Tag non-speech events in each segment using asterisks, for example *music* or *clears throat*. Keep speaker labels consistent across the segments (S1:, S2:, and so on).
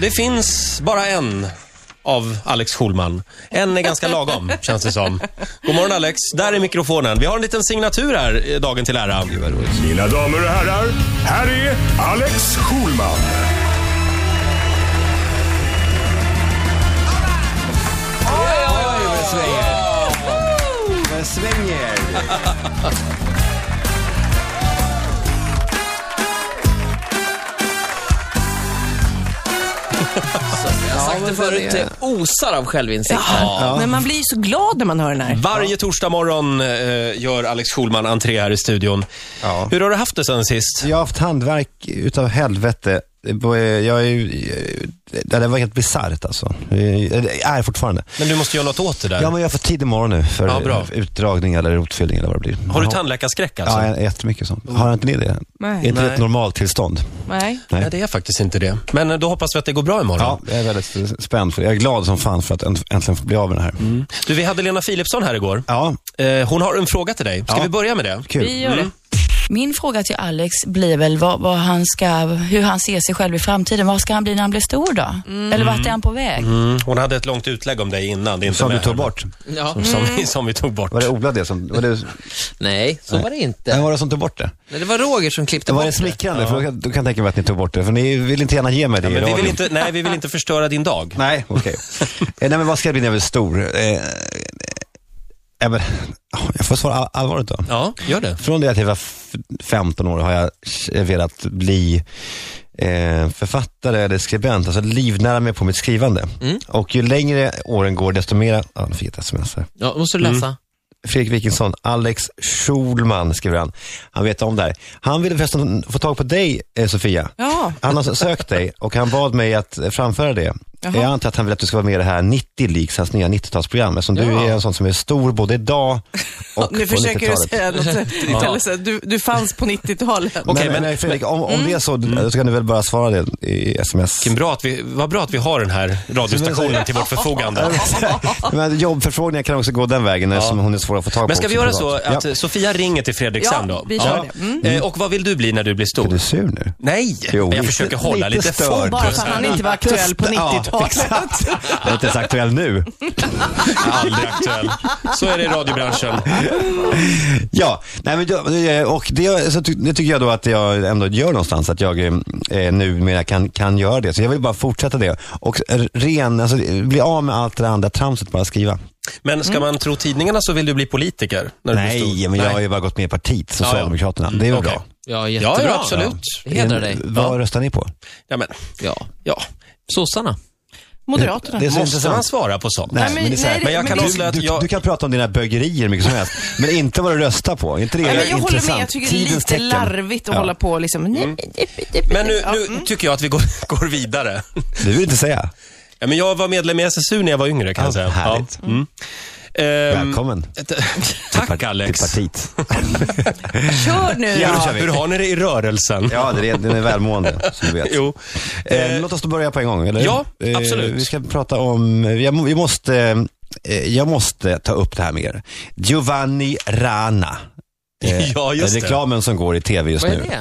S1: det finns bara en av Alex Schulman. En är ganska lagom, känns det som. God morgon Alex, där är mikrofonen. Vi har en liten signatur här, eh, dagen till ära.
S2: Mina damer och herrar, här är Alex Schulman.
S3: Oj, vad det svänger. Vad det svänger.
S4: Jag har sagt det förut, det osar av självinsikt här.
S5: Men man blir ju så glad när man hör den här.
S1: Varje torsdag morgon eh, gör Alex Schulman entré här i studion.
S3: Ja.
S1: Hur har du haft det sen sist?
S3: Jag har haft handverk utav helvete. Jag är ju, det där var helt bisarrt alltså. Det är fortfarande.
S1: Men du måste göra något åt det där.
S3: Ja, men jag har fått tid imorgon nu för
S1: Ja, bra.
S3: utdragning eller rotfyllning eller vad det blir.
S1: Har du
S3: Jaha.
S1: tandläkarskräck alltså?
S3: Ja, jättemycket sånt. Har inte ni det?
S5: Nej.
S3: Är inte det
S1: Nej.
S3: ett normaltillstånd?
S5: Nej.
S1: Nej, det är faktiskt inte det. Men eh, då hoppas vi att det går bra imorgon.
S3: Ja, jag är väldigt spänd. För, jag är glad som fan för att änt- äntligen få bli av med det här.
S1: Du, vi hade Lena Philipsson här igår.
S3: Ja,
S1: Eh, hon har en fråga till dig. Ska vi börja med det?
S3: kul.
S5: Vi gör det.
S6: Min fråga till Alex blir väl vad, vad han ska, hur han ser sig själv i framtiden. Vad ska han bli när han blir stor då? Eller vart är han på väg?
S1: Mm, hon hade ett långt utlägg om dig innan. Det är inte
S3: Som
S1: med
S3: du tog
S1: här. Mm.
S3: bort.
S4: Ja.
S1: Som, som, vi, som vi tog bort.
S3: Var det Ola det som... Var det,
S4: Nej, så var det inte.
S3: vem var det som tog bort det?
S4: Nej, det var Roger som klippte
S3: Var
S4: bort
S3: det
S4: det.
S3: smickrande? För då kan, då kan jag tänka mig att ni tog bort det. För ni vill inte gärna ge mig det i
S1: Men vi vill
S3: radion.
S1: inte, nej, vi vill inte förstöra din dag.
S3: Nej, okej. eh, nej, men vad ska jag bli när jag blir stor? Eh, eh, eh, men, jag får svara all- allvarligt då.
S1: Ja, gör det.
S3: Från det att jag var f- 15 år har jag eh, velat bli eh, författare eller skribent, alltså livnära mig på mitt skrivande. Och ju längre åren går, desto mer... Ja, nu fick jag ett sms här.
S4: Ja, måste du läsa.
S3: Fredrik Wikingsson, Alex Schulman skriver han. Han vet om det här. Han ville förresten få tag på dig, eh, Sofia.
S5: Ja.
S3: Han har sökt dig och han bad mig att eh, framföra det. Jag antar att han vill att du ska vara med i det här 90 Leaks, hans nya 90-talsprogram. Eftersom du är en sån som är stor både
S5: *laughs*
S3: idag och
S5: Nu
S3: på
S5: försöker du
S3: 90-talet.
S5: säga något. Ja. Du, du fanns på 90-talet.
S3: Men,
S1: Okej,
S3: men,
S1: men- Mm.
S3: nej, Fredrik, om,
S5: Mm.
S3: om det är så, då ska du väl bara svara det i sms.
S1: Vilken Bra att vi, vad bra att vi har den här radiostationen till vårt förfogande.
S3: *laughs* Men jobbförfrågningar kan också gå den vägen eftersom hon är svår att få tag på.
S1: Men ska vi
S3: också
S1: göra så
S3: privat.
S1: att
S3: Ja.
S1: eh, Sofia ringer till Fredrik
S5: Ja,
S1: sen då?
S5: vi gör det.
S1: Eh, Och vad vill du bli när du blir
S3: Mm. Är du
S1: stor?
S3: sur nu?
S1: Nej,
S3: Jo,
S1: men jag
S3: lite-
S1: försöker hålla
S3: lite
S1: lite,
S3: störd.
S5: Bara
S1: fokus.
S5: för att han inte var aktuell på
S3: Ja,
S5: 90-talet.
S3: Jag är inte ens aktuell nu.
S1: Aldrig aktuell. Så är det i radiobranschen.
S3: Ja, nej men, jag- och det, så ty, det tycker jag då att jag ändå gör någonstans, att jag eh, numera kan, kan göra det. Så jag vill bara fortsätta det. Och ren, alltså, bli av med allt det andra tramset, bara skriva.
S1: Men ska man tro tidningarna så vill du bli politiker när du blir stor.
S3: Mm. Nej, men jag har ju bara gått med i partiet, Socialdemokraterna. Det är väl
S1: Okej.
S3: bra.
S4: Ja, jättebra.
S1: Ja, ja, absolut.
S4: Det hedrar dig.
S3: Vad röstar ni på?
S1: Ja, men,
S4: Ja.
S1: ja.
S4: Sossarna.
S5: Moderaterna.
S3: Det är så
S1: Måste man
S3: intressant.
S1: svara på sånt?
S3: Nej,
S5: men-
S3: men, det är så här,
S5: nej,
S1: Men jag
S5: men
S1: kan
S5: det-
S1: avslöja att
S3: du, du,
S1: jag...
S3: du kan prata om dina bögerier hur mycket som helst, men inte vad du röstar på. Inte det
S5: Nej, men jag
S3: intressant?
S5: håller med, jag tycker det är
S3: Tidens
S5: lite
S3: tecken.
S5: larvigt att
S3: Ja.
S5: hålla på och liksom, nej,
S1: Men nu, nu
S3: Mm.
S1: tycker jag att vi går, *laughs* går vidare.
S3: Det vill du inte säga.
S1: Ja, men jag var medlem i SSU när jag var yngre kan
S3: Ja,
S1: jag säga.
S3: härligt.
S1: Ja. Mm. Ehm,
S3: Välkommen *laughs*
S1: t- Tack
S3: till
S1: Alex. *laughs*
S3: partiet.
S5: kör nu.
S3: Ja.
S1: Hur,
S3: då kör vi.
S1: hur har ni det i rörelsen?
S3: Ja, det är, den är välmående, som du vet.
S1: *laughs* Jo.
S3: Eh, låt oss då börja på en gång, eller
S1: Ja,
S3: Eh,
S1: absolut.
S3: Vi ska prata om, vi, har- vi måste, eh, jag måste ta upp det här med er. Giovanni Rana. Eh,
S1: *laughs* Ja, just det.
S3: Reklamen som går i tv just
S4: Vad är
S3: nu.
S4: det?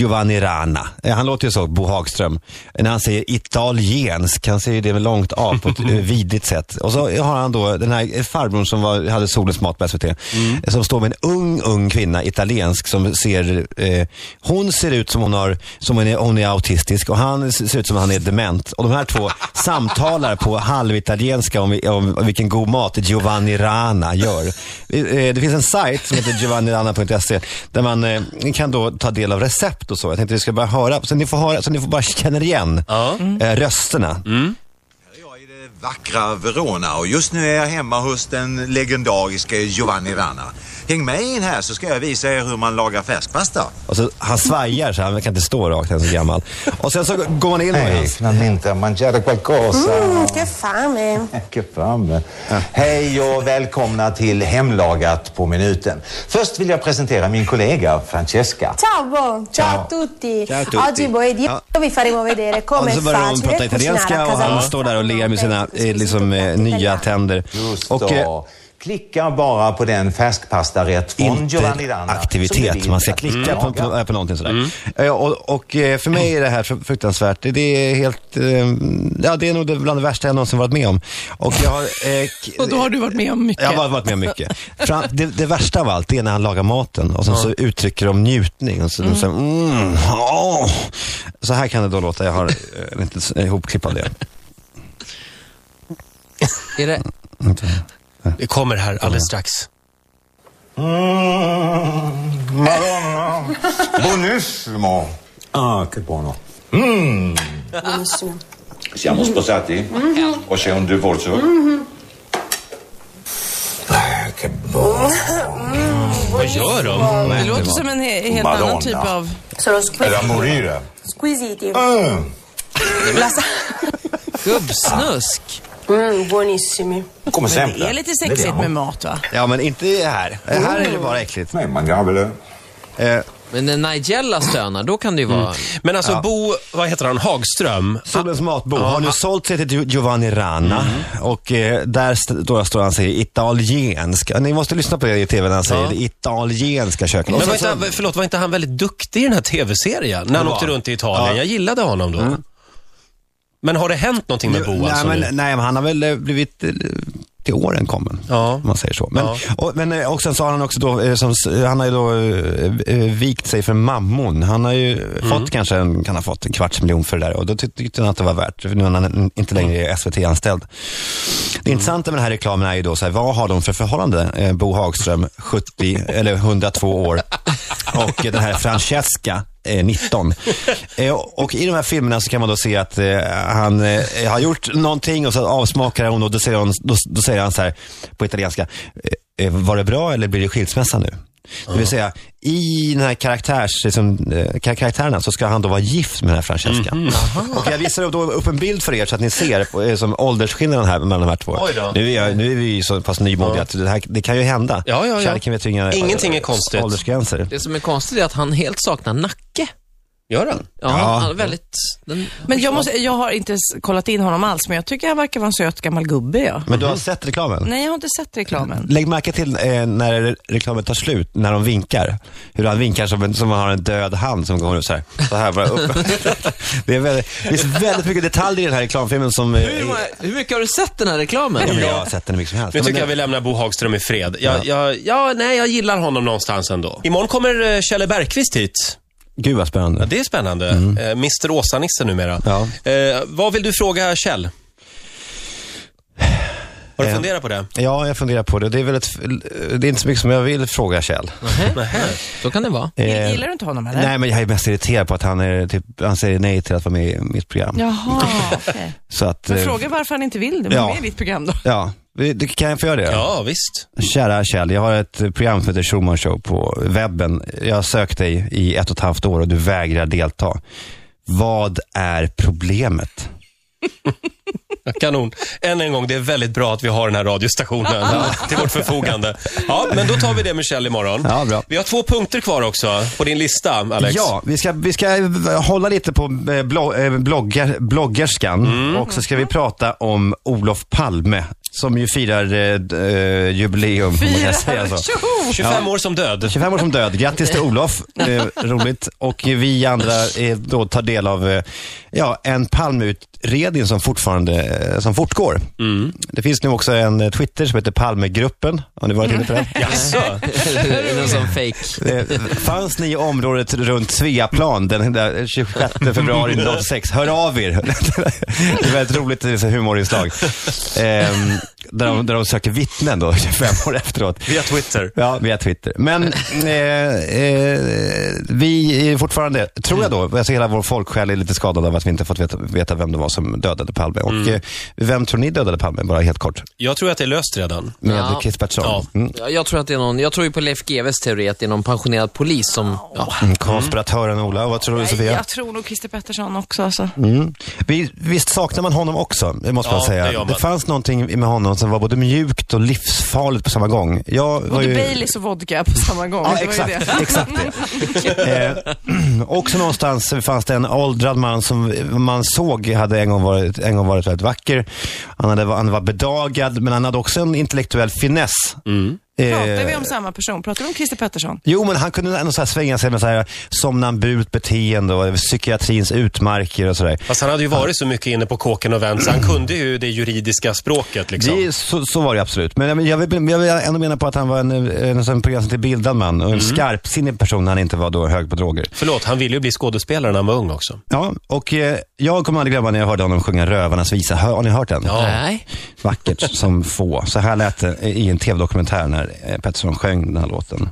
S3: Giovanni Rana. Eh, Han låter ju så, Bo Hagström. När han säger italiensk, han säger det med långt A på ett eh, vidrigt sätt. Och så har han då den här eh, farbrorn som var, hade Solens mat på SVT. eh, Som står med en ung, ung kvinna, italiensk, som ser, eh, hon ser ut som hon har, som hon är, hon är autistisk och han s- ser ut som han är dement. Och de här två samtalar på halvitalienska om, vi- om, om vilken god mat Giovanni Rana gör. Eh, eh, Det finns en sajt som heter giovannirana.se där man eh, kan då ta del av recept och så. Jag tänkte vi ska bara höra, så ni får, höra, så ni får bara känna igen eh, rösterna.
S7: Jag är i det vackra Verona och just nu är jag hemma hos den legendariska Giovanni Rana. Häng med in här så ska jag visa er hur man lagar färskpasta.
S3: Och så, han svajar så här, han kan inte stå rakt, han är så gammal. Och sen så går man in och
S8: finalmente a mangiare qualcosa.
S3: Mm.
S9: Che fame!
S8: Che fame. Hej och välkomna till Hemlagat på minuten. Först vill jag presentera min kollega Francesca.
S9: Ciao, Bo. ciao, a tutti.
S3: Ciao a tutti.
S9: Oggi giovedì
S3: Ah.
S9: vi faremo vedere
S3: Och
S9: come è
S3: så börjar hon prata
S9: facile
S3: italienska
S9: cucinare a
S3: och
S9: casa
S3: han
S9: nostra.
S3: står där och ler med sina eh, liksom, eh, nya eh, tänder.
S8: Just
S3: Och, eh,
S8: då. Klicka bara på den färskpastarätt från
S3: inte
S8: Giovanni Danna. som du
S3: aktivitet.
S8: vill
S3: Man ska
S8: att
S3: klicka
S8: du
S3: på,
S8: lagar.
S3: på, på någonting sådär.
S8: Mm.
S3: Eh, Och, och eh, för mig är det här så fruktansvärt. Det är helt, eh, ja det är nog det bland det värsta jag någonsin varit med om. Och jag har, eh, k-
S5: *laughs* Och då har du varit med om mycket.
S3: jag har varit med om mycket. Fram, det, det värsta av allt det är när han lagar maten och sen så uttrycker de njutning. Och så, mm. så, mm, åh. så här kan det då låta. Jag har eh, inte s- ihopklipp av det.
S4: Är det...
S1: Det kommer här alldeles strax.
S8: Madonna. Buonissimo. Ah, che buono. Siamo sposati? O c'è un divorzio? Ah, che buono.
S1: Vad gör de?
S5: Det låter som en he- helt annan
S8: Madonna.
S5: typ av...
S9: Sono
S8: È da
S9: squisiti.
S8: morire.
S9: squisiti.
S8: Mm.
S4: Gubbsnusk.
S9: Mm, buonissimi.
S8: Come sempre.
S5: Det är lite sexigt
S8: Vediamo.
S5: med mat va?
S3: Ja, men inte här. Här är det bara äckligt.
S8: Nej, man kan väl...
S3: Eh,
S4: Men när Nigella stönar, då kan det ju vara...
S1: Men alltså Bo, vad heter han, Hagström?
S3: Solens matbord har nu sålt sig till Gio- Giovanni Rana
S1: Mm.
S3: och eh, där st- då står han och säger italienska. Ni måste lyssna på det i tv när han säger det italienska köket. Och
S1: Men var
S3: sen så-
S1: inte, han- förlåt, var inte han väldigt duktig i den här tv-serien? När han åkte runt i Italien.
S3: Ja. Mm.
S1: Jag gillade honom då. Men har det hänt någonting med Bo
S3: nej,
S1: alltså
S3: men,
S1: nu?
S3: nej, men han har väl eh, blivit eh, till åren kommen,
S1: Ja.
S3: om man säger så. Men, och, men eh, och sen så har han också då, eh, som, s- han har ju då eh, eh, vikt sig för mammon. Han har ju
S1: Mm.
S3: fått kanske en, kan ha fått en kvarts miljon för det där och då tyck- tyckte han att det var värt, för nu när han inte längre är SVT-anställd. Det intressanta med den här reklamen är ju då så här, vad har de för förhållande, eh, Bo Hagström, 70 eller 102 år och eh, den här Francesca, eh, 19. Eh, och i de här filmerna så kan man då se att eh, han eh, har gjort någonting och så avsmakar hon och då säger, hon, då, då säger han så här på italienska, eh, eh, var det bra eller blir det skilsmässa nu? Det vill säga, i den här karaktärs, liksom, eh, kar- karaktärerna så ska han då vara gift med den här Francesca.
S1: Mhm.
S3: Och jag visar då upp en bild för er så att ni ser på, eh, som åldersskillnaden här mellan de här två.
S1: Oj då.
S3: Nu är, jag, nu är vi ju så pass nymodiga att det, här, det kan ju hända.
S1: Ja, ja, ja.
S3: Kärleken vet ju inga
S1: Ingenting är konstigt.
S3: åldersgränser.
S4: Det som är konstigt är att han helt saknar nacke.
S1: Gör han?
S4: Ja,
S3: Ja.
S4: han är väldigt... Den...
S5: Men jag, måste, jag har inte s- kollat in honom alls, men jag tycker han verkar vara en söt gammal gubbe ja.
S3: Men
S1: Mhm.
S3: du har sett reklamen?
S5: Nej, jag har inte sett reklamen.
S3: Lägg märke till eh, när re- reklamen tar slut, när de vinkar. Hur han vinkar som, en, som man har en död hand som går upp så här. Så här
S1: *laughs*
S3: bara upp. *laughs* det, är väldigt, det finns väldigt mycket detaljer i den här reklamfilmen som... eh,
S4: Hur, många- hur mycket har du sett den här reklamen?
S3: Ja, men jag har sett den hur mycket som helst.
S1: Nu
S3: Men
S1: tycker jag
S3: det-
S1: vi lämnar Bo Hagström i fred. Jag, jag, ja, nej, jag gillar honom någonstans ändå. Imorgon kommer eh, Kjelle Bergqvist hit.
S3: Gud vad spännande.
S1: Det är spännande. Eh, Mr Åsa-Nisse numera.
S3: Mm. Ja.
S1: Eh, vad vill du fråga Kjell? Har du funderat på det?
S3: Ja, jag funderar på det. Det är, väl ett, det är inte så mycket som jag vill fråga Kjell.
S4: Nähä. Så kan det *laughs* vara.
S3: Eh,
S5: Gillar du inte honom eller?
S3: Nej, men jag är mest irriterad på att han, är, typ, han säger nej till att vara med i mitt program.
S5: Jaha, okej.
S3: *laughs* Så att,
S5: Men
S3: eh,
S5: fråga varför han inte vill det.
S3: Ja.
S5: Var med i ditt program då.
S3: Ja, vi- du, kan jag få göra det?
S1: Ja, visst.
S3: Kära Kjell, jag har ett eh, program som heter Schulman Show på webben. Jag har sökt dig i ett och ett halvt år och du vägrar delta. Vad är problemet?
S1: Kanon. Än en gång, det är väldigt bra att vi har den här radiostationen
S3: *laughs*
S1: till vårt förfogande. Ja, men då tar vi det med Kjell imorgon.
S3: Ja, bra.
S1: Vi har två punkter kvar också på din lista, Alex.
S3: Ja, vi ska, vi ska eh, hålla lite på eh, blo- eh, bloggar, bloggerskan och så ska vi prata om Olof Palme som ju firar eh, d- eh, jubileum. om man kan säga så.
S1: 25 år som död.
S3: 25 år som död. Grattis till Olof. Eh, roligt. Och vi andra eh, då tar del av eh, ja, en Palmeutredning som fortfarande eh, som fortgår. Det finns nu också en eh, Twitter som heter Palmegruppen. Har ni varit inne på den?
S1: Jaså?
S4: Någon sån fake.
S3: Eh, Fanns ni i området runt Sveaplan den där 26 februari
S1: Mm.
S3: 1986? Hör av er. Det är väldigt roligt det är så humorinslag. Ehm, där, de, där de söker vittnen då, 25 år efteråt.
S1: Via Twitter.
S3: Ja, via Twitter. Men eh, eh, vi är fortfarande, tror jag
S1: Mm.
S3: då, alltså hela vår folksjäl är lite skadad av att vi inte fått veta, veta vem det var som dödade Palme. Och
S1: Mm.
S3: eh, vem tror ni dödade Palme, bara helt kort?
S1: Jag tror att det är löst redan.
S3: Med
S4: Ja.
S3: Chris Pettersson.
S1: Ja.
S3: Mm.
S4: Ja, Jag tror att det är någon, jag tror ju på Leif GWs teori att det är någon pensionerad polis som, ja.
S3: Mm, Konspiratören Ola, vad tror du
S5: Nej,
S3: Sofia? Mm.
S5: jag tror nog Christer Pettersson också alltså.
S3: Vi, visst saknar man honom också, det måste
S1: Ja,
S3: man säga.
S1: det
S3: Det,
S1: gör man.
S3: fanns någonting med honom som var både mjukt och livsfarligt på samma gång. Jag var
S5: Både
S3: ju...
S5: Baileys och vodka på samma gång.
S3: Ja,
S5: Det var ju
S3: exakt, exakt det. eh, *clears throat* också någonstans fanns det en åldrad man som man såg hade en gång varit, en gång varit väldigt vacker. Han, hade, han var bedagad, men han hade också en intellektuell finess.
S1: Mm.
S3: Eh,
S5: Pratar vi om samma person? Pratar vi om Christer Pettersson?
S3: Jo, men han kunde ändå så här svänga sig med så här somnambult beteende och psykiatrins utmarker och sådär.
S1: Fast han hade ju varit så mycket inne på kåken och vänt så han kunde ju det juridiska språket liksom.
S3: Det, så, så var det absolut. Men jag vill, jag vill jag vill ändå mena på att han var en, eh, en, en på gränsen till bildad man och en skarpsinnig person när han inte var då hög på droger.
S1: Förlåt, han ville ju bli skådespelare när han var ung också.
S3: Ja, och eh, jag kommer aldrig glömma när jag hörde honom sjunga Rövarnas visa. Hör, har ni hört den?
S4: Nej.
S3: Vackert som få. Så här lät det i en tv-dokumentär när eh, Pettersson sjöng den här låten.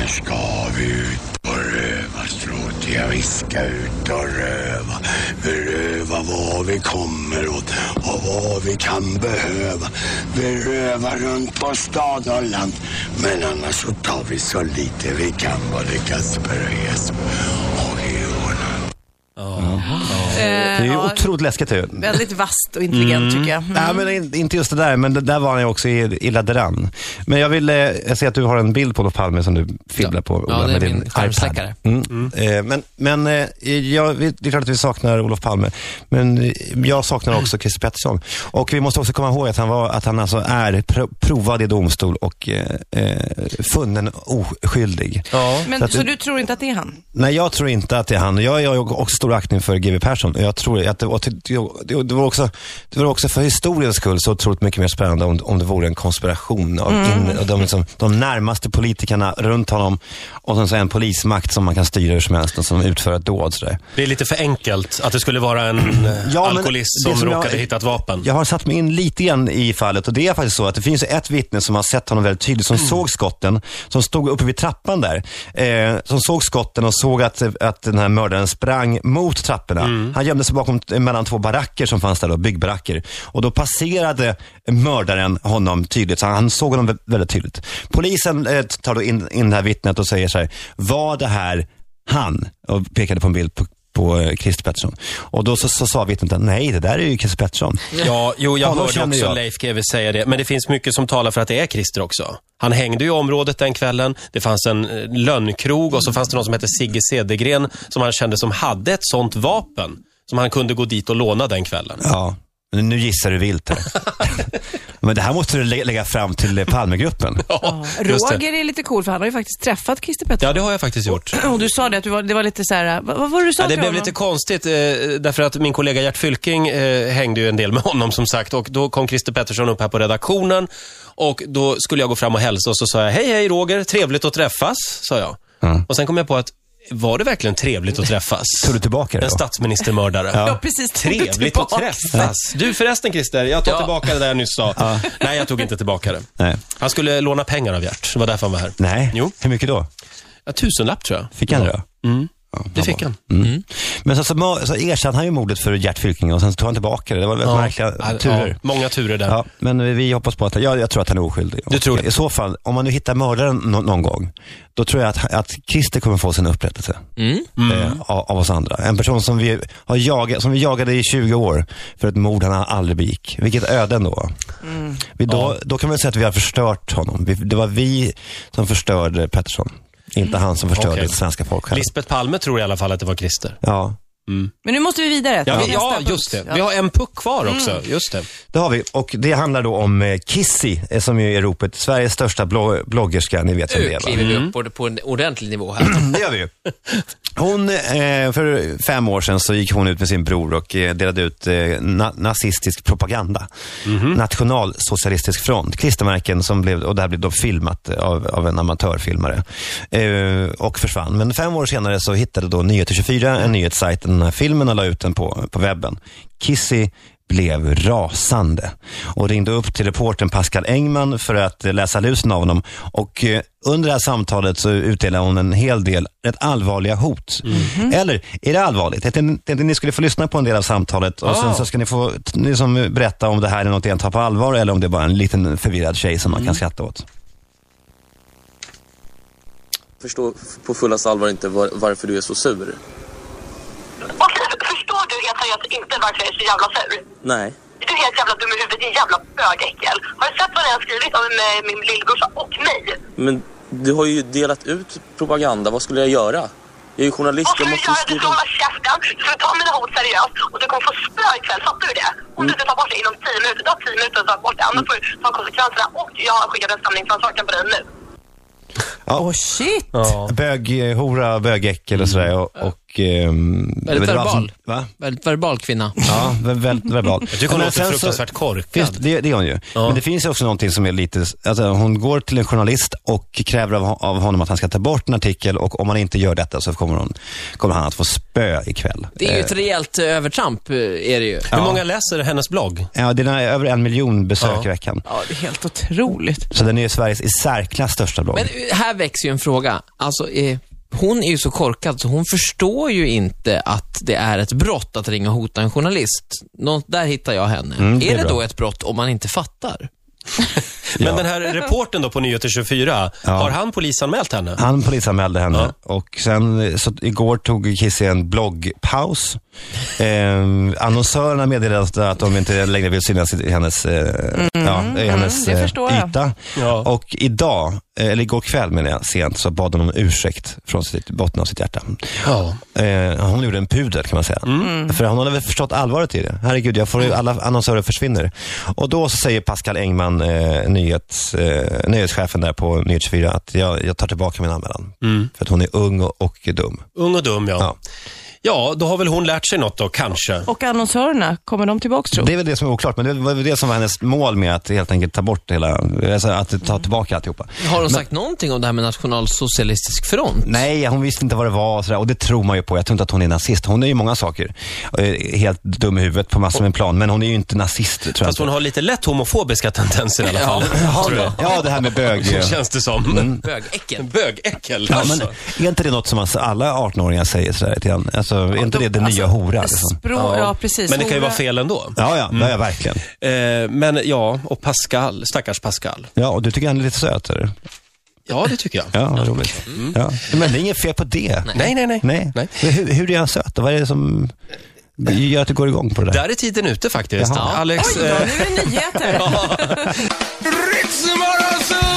S2: Nu ska vi ut och röva, stråt jag viska ut och röva. Beröva vad vi kommer åt och vad vi kan behöva. Vi rövar runt på stad och land. Men annars så tar vi så lite vi kan både Kasper och Jesper och Jonas.
S3: Det är ju otroligt läskigt ju.
S5: Väldigt vasst och
S1: Mm.
S5: intelligent tycker jag.
S3: Nej, men in- inte just det där, men det, där var han ju också i- illa däran. Men jag vill, eh, jag ser att du har en bild på Olof Palme som du fibblar på.
S4: Ja,
S3: Ola,
S4: det är
S3: med din
S4: min
S3: iPad.
S4: skärmsläckare.
S3: Mm. Eh, men men eh, jag, vi- det är klart att vi saknar Olof Palme, men eh, jag saknar också Christer Pettersson. Och vi måste också komma ihåg att han, var, att han alltså är pro, provad i domstol och eh, eh, funnen oskyldig.
S1: Ja.
S5: Mm. Men,
S3: Så
S5: så,
S3: att-
S5: du tror inte att det är han?
S3: Nej, jag tror inte att det är han. Jag jag har ju också stor aktning för GW Persson. Jag tror att det, och det, det, det, var också, det var också för historiens skull så otroligt mycket mer spännande om, om det vore en konspiration av
S1: Mm.
S3: in, och de, liksom, de närmaste politikerna runt honom och sen så en polismakt som man kan styra hur som helst och som utför ett dåd. Sådär.
S1: Det är lite för enkelt att det skulle vara en eh,
S3: Ja, men
S1: alkoholist
S3: det
S1: som,
S3: som jag-
S1: råkade hitta ett vapen.
S3: Jag har satt mig in lite grann i fallet och det är faktiskt så att det finns ett vittne som har sett honom väldigt tydligt, som såg skotten, som stod uppe vid trappan där. Eh, som såg skotten och såg att, att den här mördaren sprang mot trapporna. Han gömde sig bakom, eh, mellan två baracker som fanns där då, byggbaracker. Och då passerade mördaren honom tydligt, så han såg honom vä- väldigt tydligt. Polisen eh, tar då in, in det här vittnet och säger så här, var det här han? Och pekade på en bild på på eh, Christer Pettersson. Och då så, så sa vittnet, nej det där är ju Christer Pettersson.
S1: Ja, jo, jag
S3: Honom
S1: hörde
S3: känner
S1: också
S3: jag.
S1: Leif GW säga det. Men det finns mycket som talar för att det är Christer också. Han hängde ju i området den kvällen. Det fanns en eh, lönnkrog och så fanns det någon som hette Sigge Cedergren som han kände som hade ett sånt vapen som han kunde gå dit och låna den kvällen.
S3: Ja, men nu gissar du
S1: *laughs*
S3: vilt här. Men det här måste du lä- lägga fram till eh, Palmegruppen.
S1: Ja, just det.
S5: Roger är lite cool för han har ju faktiskt träffat Christer Pettersson.
S1: Ja, det har jag faktiskt gjort.
S5: Och du sa det att du var, det var lite så här, vad, vad var det du sa
S1: Ja, det
S5: till
S1: blev
S5: honom?
S1: lite konstigt eh, därför att min kollega Gert Fylking eh, hängde ju en del med honom som sagt och då kom Christer Pettersson upp här på redaktionen och då skulle jag gå fram och hälsa och så sa jag hej hej Roger, trevligt att träffas, sa jag. Och sen kom jag på att var det verkligen trevligt att träffas?
S3: Tog Mm. du tillbaka det
S1: En
S3: då?
S1: statsministermördare.
S5: Ja, precis. Tog du
S1: Trevligt att
S5: tillbaka.
S1: träffas. Du förresten Christer, jag tar
S4: Ja.
S1: tillbaka det där jag nyss sa. Nej, jag tog inte tillbaka det.
S3: Nej.
S1: Han skulle låna pengar av Gert, det var därför han var här.
S3: Nej,
S1: Jo,
S3: hur mycket då?
S1: ja, tusenlapp tror jag.
S3: Fick han det då?
S1: Det fick han.
S3: Men så, så, ma- så erkände han ju mordet för Gert Fylking och sen så tog han tillbaka det. Det var väldigt märkliga
S1: Ja,
S3: turer. Ja.
S1: många turer där.
S3: men vi- vi hoppas på att, jag, jag tror att han är oskyldig.
S1: Du tror det?
S3: I så fall, om man nu hittar mördaren nå- någon gång, då tror jag att, att Christer kommer få sin upprättelse
S1: Mm.
S3: Eh, av, av oss andra. En person som vi, har jagat, som vi jagade i 20 år för ett mord han aldrig begick. Vilket öde ändå. Vi, då, då kan man säga att vi har förstört honom. Vi, det var vi som förstörde Pettersson. Inte han som förstörde
S1: Okej.
S3: det svenska folksjälen.
S1: Lisbeth Palme tror i alla fall att det var Christer.
S3: Ja,
S5: Men nu måste vi vidare.
S1: Ja,
S5: till
S1: vi,
S5: nästa
S1: ja
S5: punkt.
S1: just det.
S5: Ja.
S1: Vi har en puck kvar
S5: Mm.
S1: också. Just det.
S3: Det har vi och det handlar då om eh, Kissy eh, som ju är ropet Sveriges största blo- bloggerska, ni vet vem det
S4: Nu
S3: är
S4: kliver
S3: va?
S4: vi upp både på en ordentlig nivå
S3: *clears throat*
S4: här.
S3: Det gör vi ju. Hon, eh, för fem år sedan så gick hon ut med sin bror och eh, delade ut eh, na- nazistisk propaganda. Nationalsocialistisk front, klistermärken som blev, och det här blev då filmat eh, av, av en amatörfilmare. Eh, och försvann. Men fem år senare så hittade då Nyheter24, en nyhetssajt, den här filmen och la ut den på, på webben. Kissy blev rasande och ringde upp till reportern Pascal Engman för att eh, läsa lusen av honom. Och eh, under det här samtalet så utdelade hon en hel del rätt allvarliga hot. Eller, är det allvarligt? Jag tänkte, tänkte ni skulle få lyssna på en del av samtalet och sen så ska ni få t- ni som berätta om det här är något jag tar på allvar eller om det är bara en liten förvirrad tjej som man kan skratta åt.
S10: förstår på fullaste allvar inte var, varför du är så sur.
S11: Och förstår du helt seriöst inte varför jag är så jävla sur?
S10: Nej.
S11: Du är helt jävla dum i huvudet. Det är jävla bögäckel. Har du sett vad ni har skrivit om eh, min lillbrorsa och mig?
S10: Men du har ju delat ut propaganda. Vad skulle jag göra? Jag är ju journalist.
S11: Vad ska du
S10: Jag måste
S11: göra? Du ska
S10: ju skriva...
S11: hålla käften. Du ska ta mina hot seriöst. Och du kommer få spö ikväll. Fattar du det? Om du inte tar bort det inom 10 minuter. Du har 10 minuter att ta bort det. Annars får du ta konsekvenserna. Och jag har skickat en samlingsansökan på dig nu.
S3: Åh
S5: oh, shit!
S3: Ja. Böghora, eh, bögäckel och sådär. Och, och, ehm, det
S4: Väldigt
S3: var- det var
S4: verbal.
S3: som- Va?
S4: Väldigt verbal kvinna.
S3: Ja, vä- väldigt verbal.
S1: Jag tycker hon
S3: Men
S1: låter
S3: sen så-
S1: fruktansvärt korkad.
S3: Visst, det, det är hon ju. Men det finns ju också någonting som är lite, alltså hon går till en journalist och kräver av, hon- av honom att han ska ta bort en artikel och om han inte gör detta så kommer, hon, kommer han att få spö ikväll.
S4: Det är ju
S3: Eh,
S4: ett rejält eh, övertramp, eh, är det ju.
S3: Hur Ja. många
S1: läser hennes blogg?
S3: Ja, den är över en miljon besök i veckan.
S5: Ja, det är helt otroligt.
S3: Så den är Sveriges i särklass största blogg.
S4: Men eh, här växer ju en fråga. Alltså, eh, hon är ju så korkad så hon förstår ju inte att det är ett brott att ringa och hota en journalist. Nå, där hittar jag henne.
S1: Mm, det
S4: är
S1: är
S4: det
S1: bra.
S4: då ett brott om man inte fattar?
S1: Men den här reporten då på Nyheter 24, har han polisanmält henne?
S3: Han polisanmälde henne och sen eh, så igår tog Kiss en bloggpaus. Ehm, annonsörerna meddelade att de inte längre vill synas i hennes, eh, ja, i hennes
S5: Mm. det
S3: eh,
S5: förstår jag.
S3: yta. Och idag, eh, eller igår kväll menar jag, sent, så bad hon om ursäkt från sitt, botten av sitt hjärta. Eh, hon gjorde en pudel kan man säga.
S1: Mm.
S3: För hon hade väl förstått allvaret i det. Herregud, jag får ju, alla annonsörer försvinner. Och då så säger Pascal Engman, eh, nyhets, eh, nyhetschefen där på Nyhets 24, att jag, jag tar tillbaka min anmälan.
S1: Mm.
S3: För att hon är ung och, och dum.
S1: Ung och dum, ja. ja. då har väl hon lärt sig något då, kanske.
S5: Och annonsörerna, kommer de tillbaks tro?
S3: Det är väl det som är oklart, men det var väl det som var hennes mål med att helt enkelt ta bort hela, alltså att
S1: Mm.
S3: ta tillbaka alltihopa.
S4: Har hon sagt någonting om det här med nationalsocialistisk front?
S3: Nej, hon visste inte vad det var och, sådär, och det tror man ju på. Jag tror inte att hon är nazist. Hon är ju många saker. Eh, Helt dum i huvudet på massor med plan, men hon är ju inte nazist. Tror jag
S1: Fast
S3: inte.
S1: hon har lite lätt homofobiska tendenser i alla fall.
S3: Ja,
S1: tror jag.
S3: ja, ja, det här med bög.
S1: Så känns det som.
S4: Bögäckel.
S1: Bögäckel,
S3: Ja, men
S1: alltså.
S3: är inte det något som alltså alla 18-åringar säger sådär lite grann? Alltså, är inte det den nya hora? Liksom?
S5: Språ, ja, precis.
S1: Men det kan ju
S5: Hora.
S1: vara fel ändå.
S3: Ja, ja, ja, ja, verkligen.
S1: Eh, men ja, och Pascal, stackars Pascal.
S3: Ja, och du tycker han är lite söt, eller?
S1: Ja, det tycker jag.
S3: Ja, vad roligt. Ja. Men det är inget fel på det.
S1: Nej, nej, nej.
S3: nej. Men Hur, hur är han söt? Vad är det som gör att du går igång på det där?
S1: Där är tiden ute faktiskt.
S3: Jaha.
S1: *laughs* Alex, eh,
S5: Oj då, nu är det nyheter.
S1: Ja.
S2: Ritzmorgonzoo!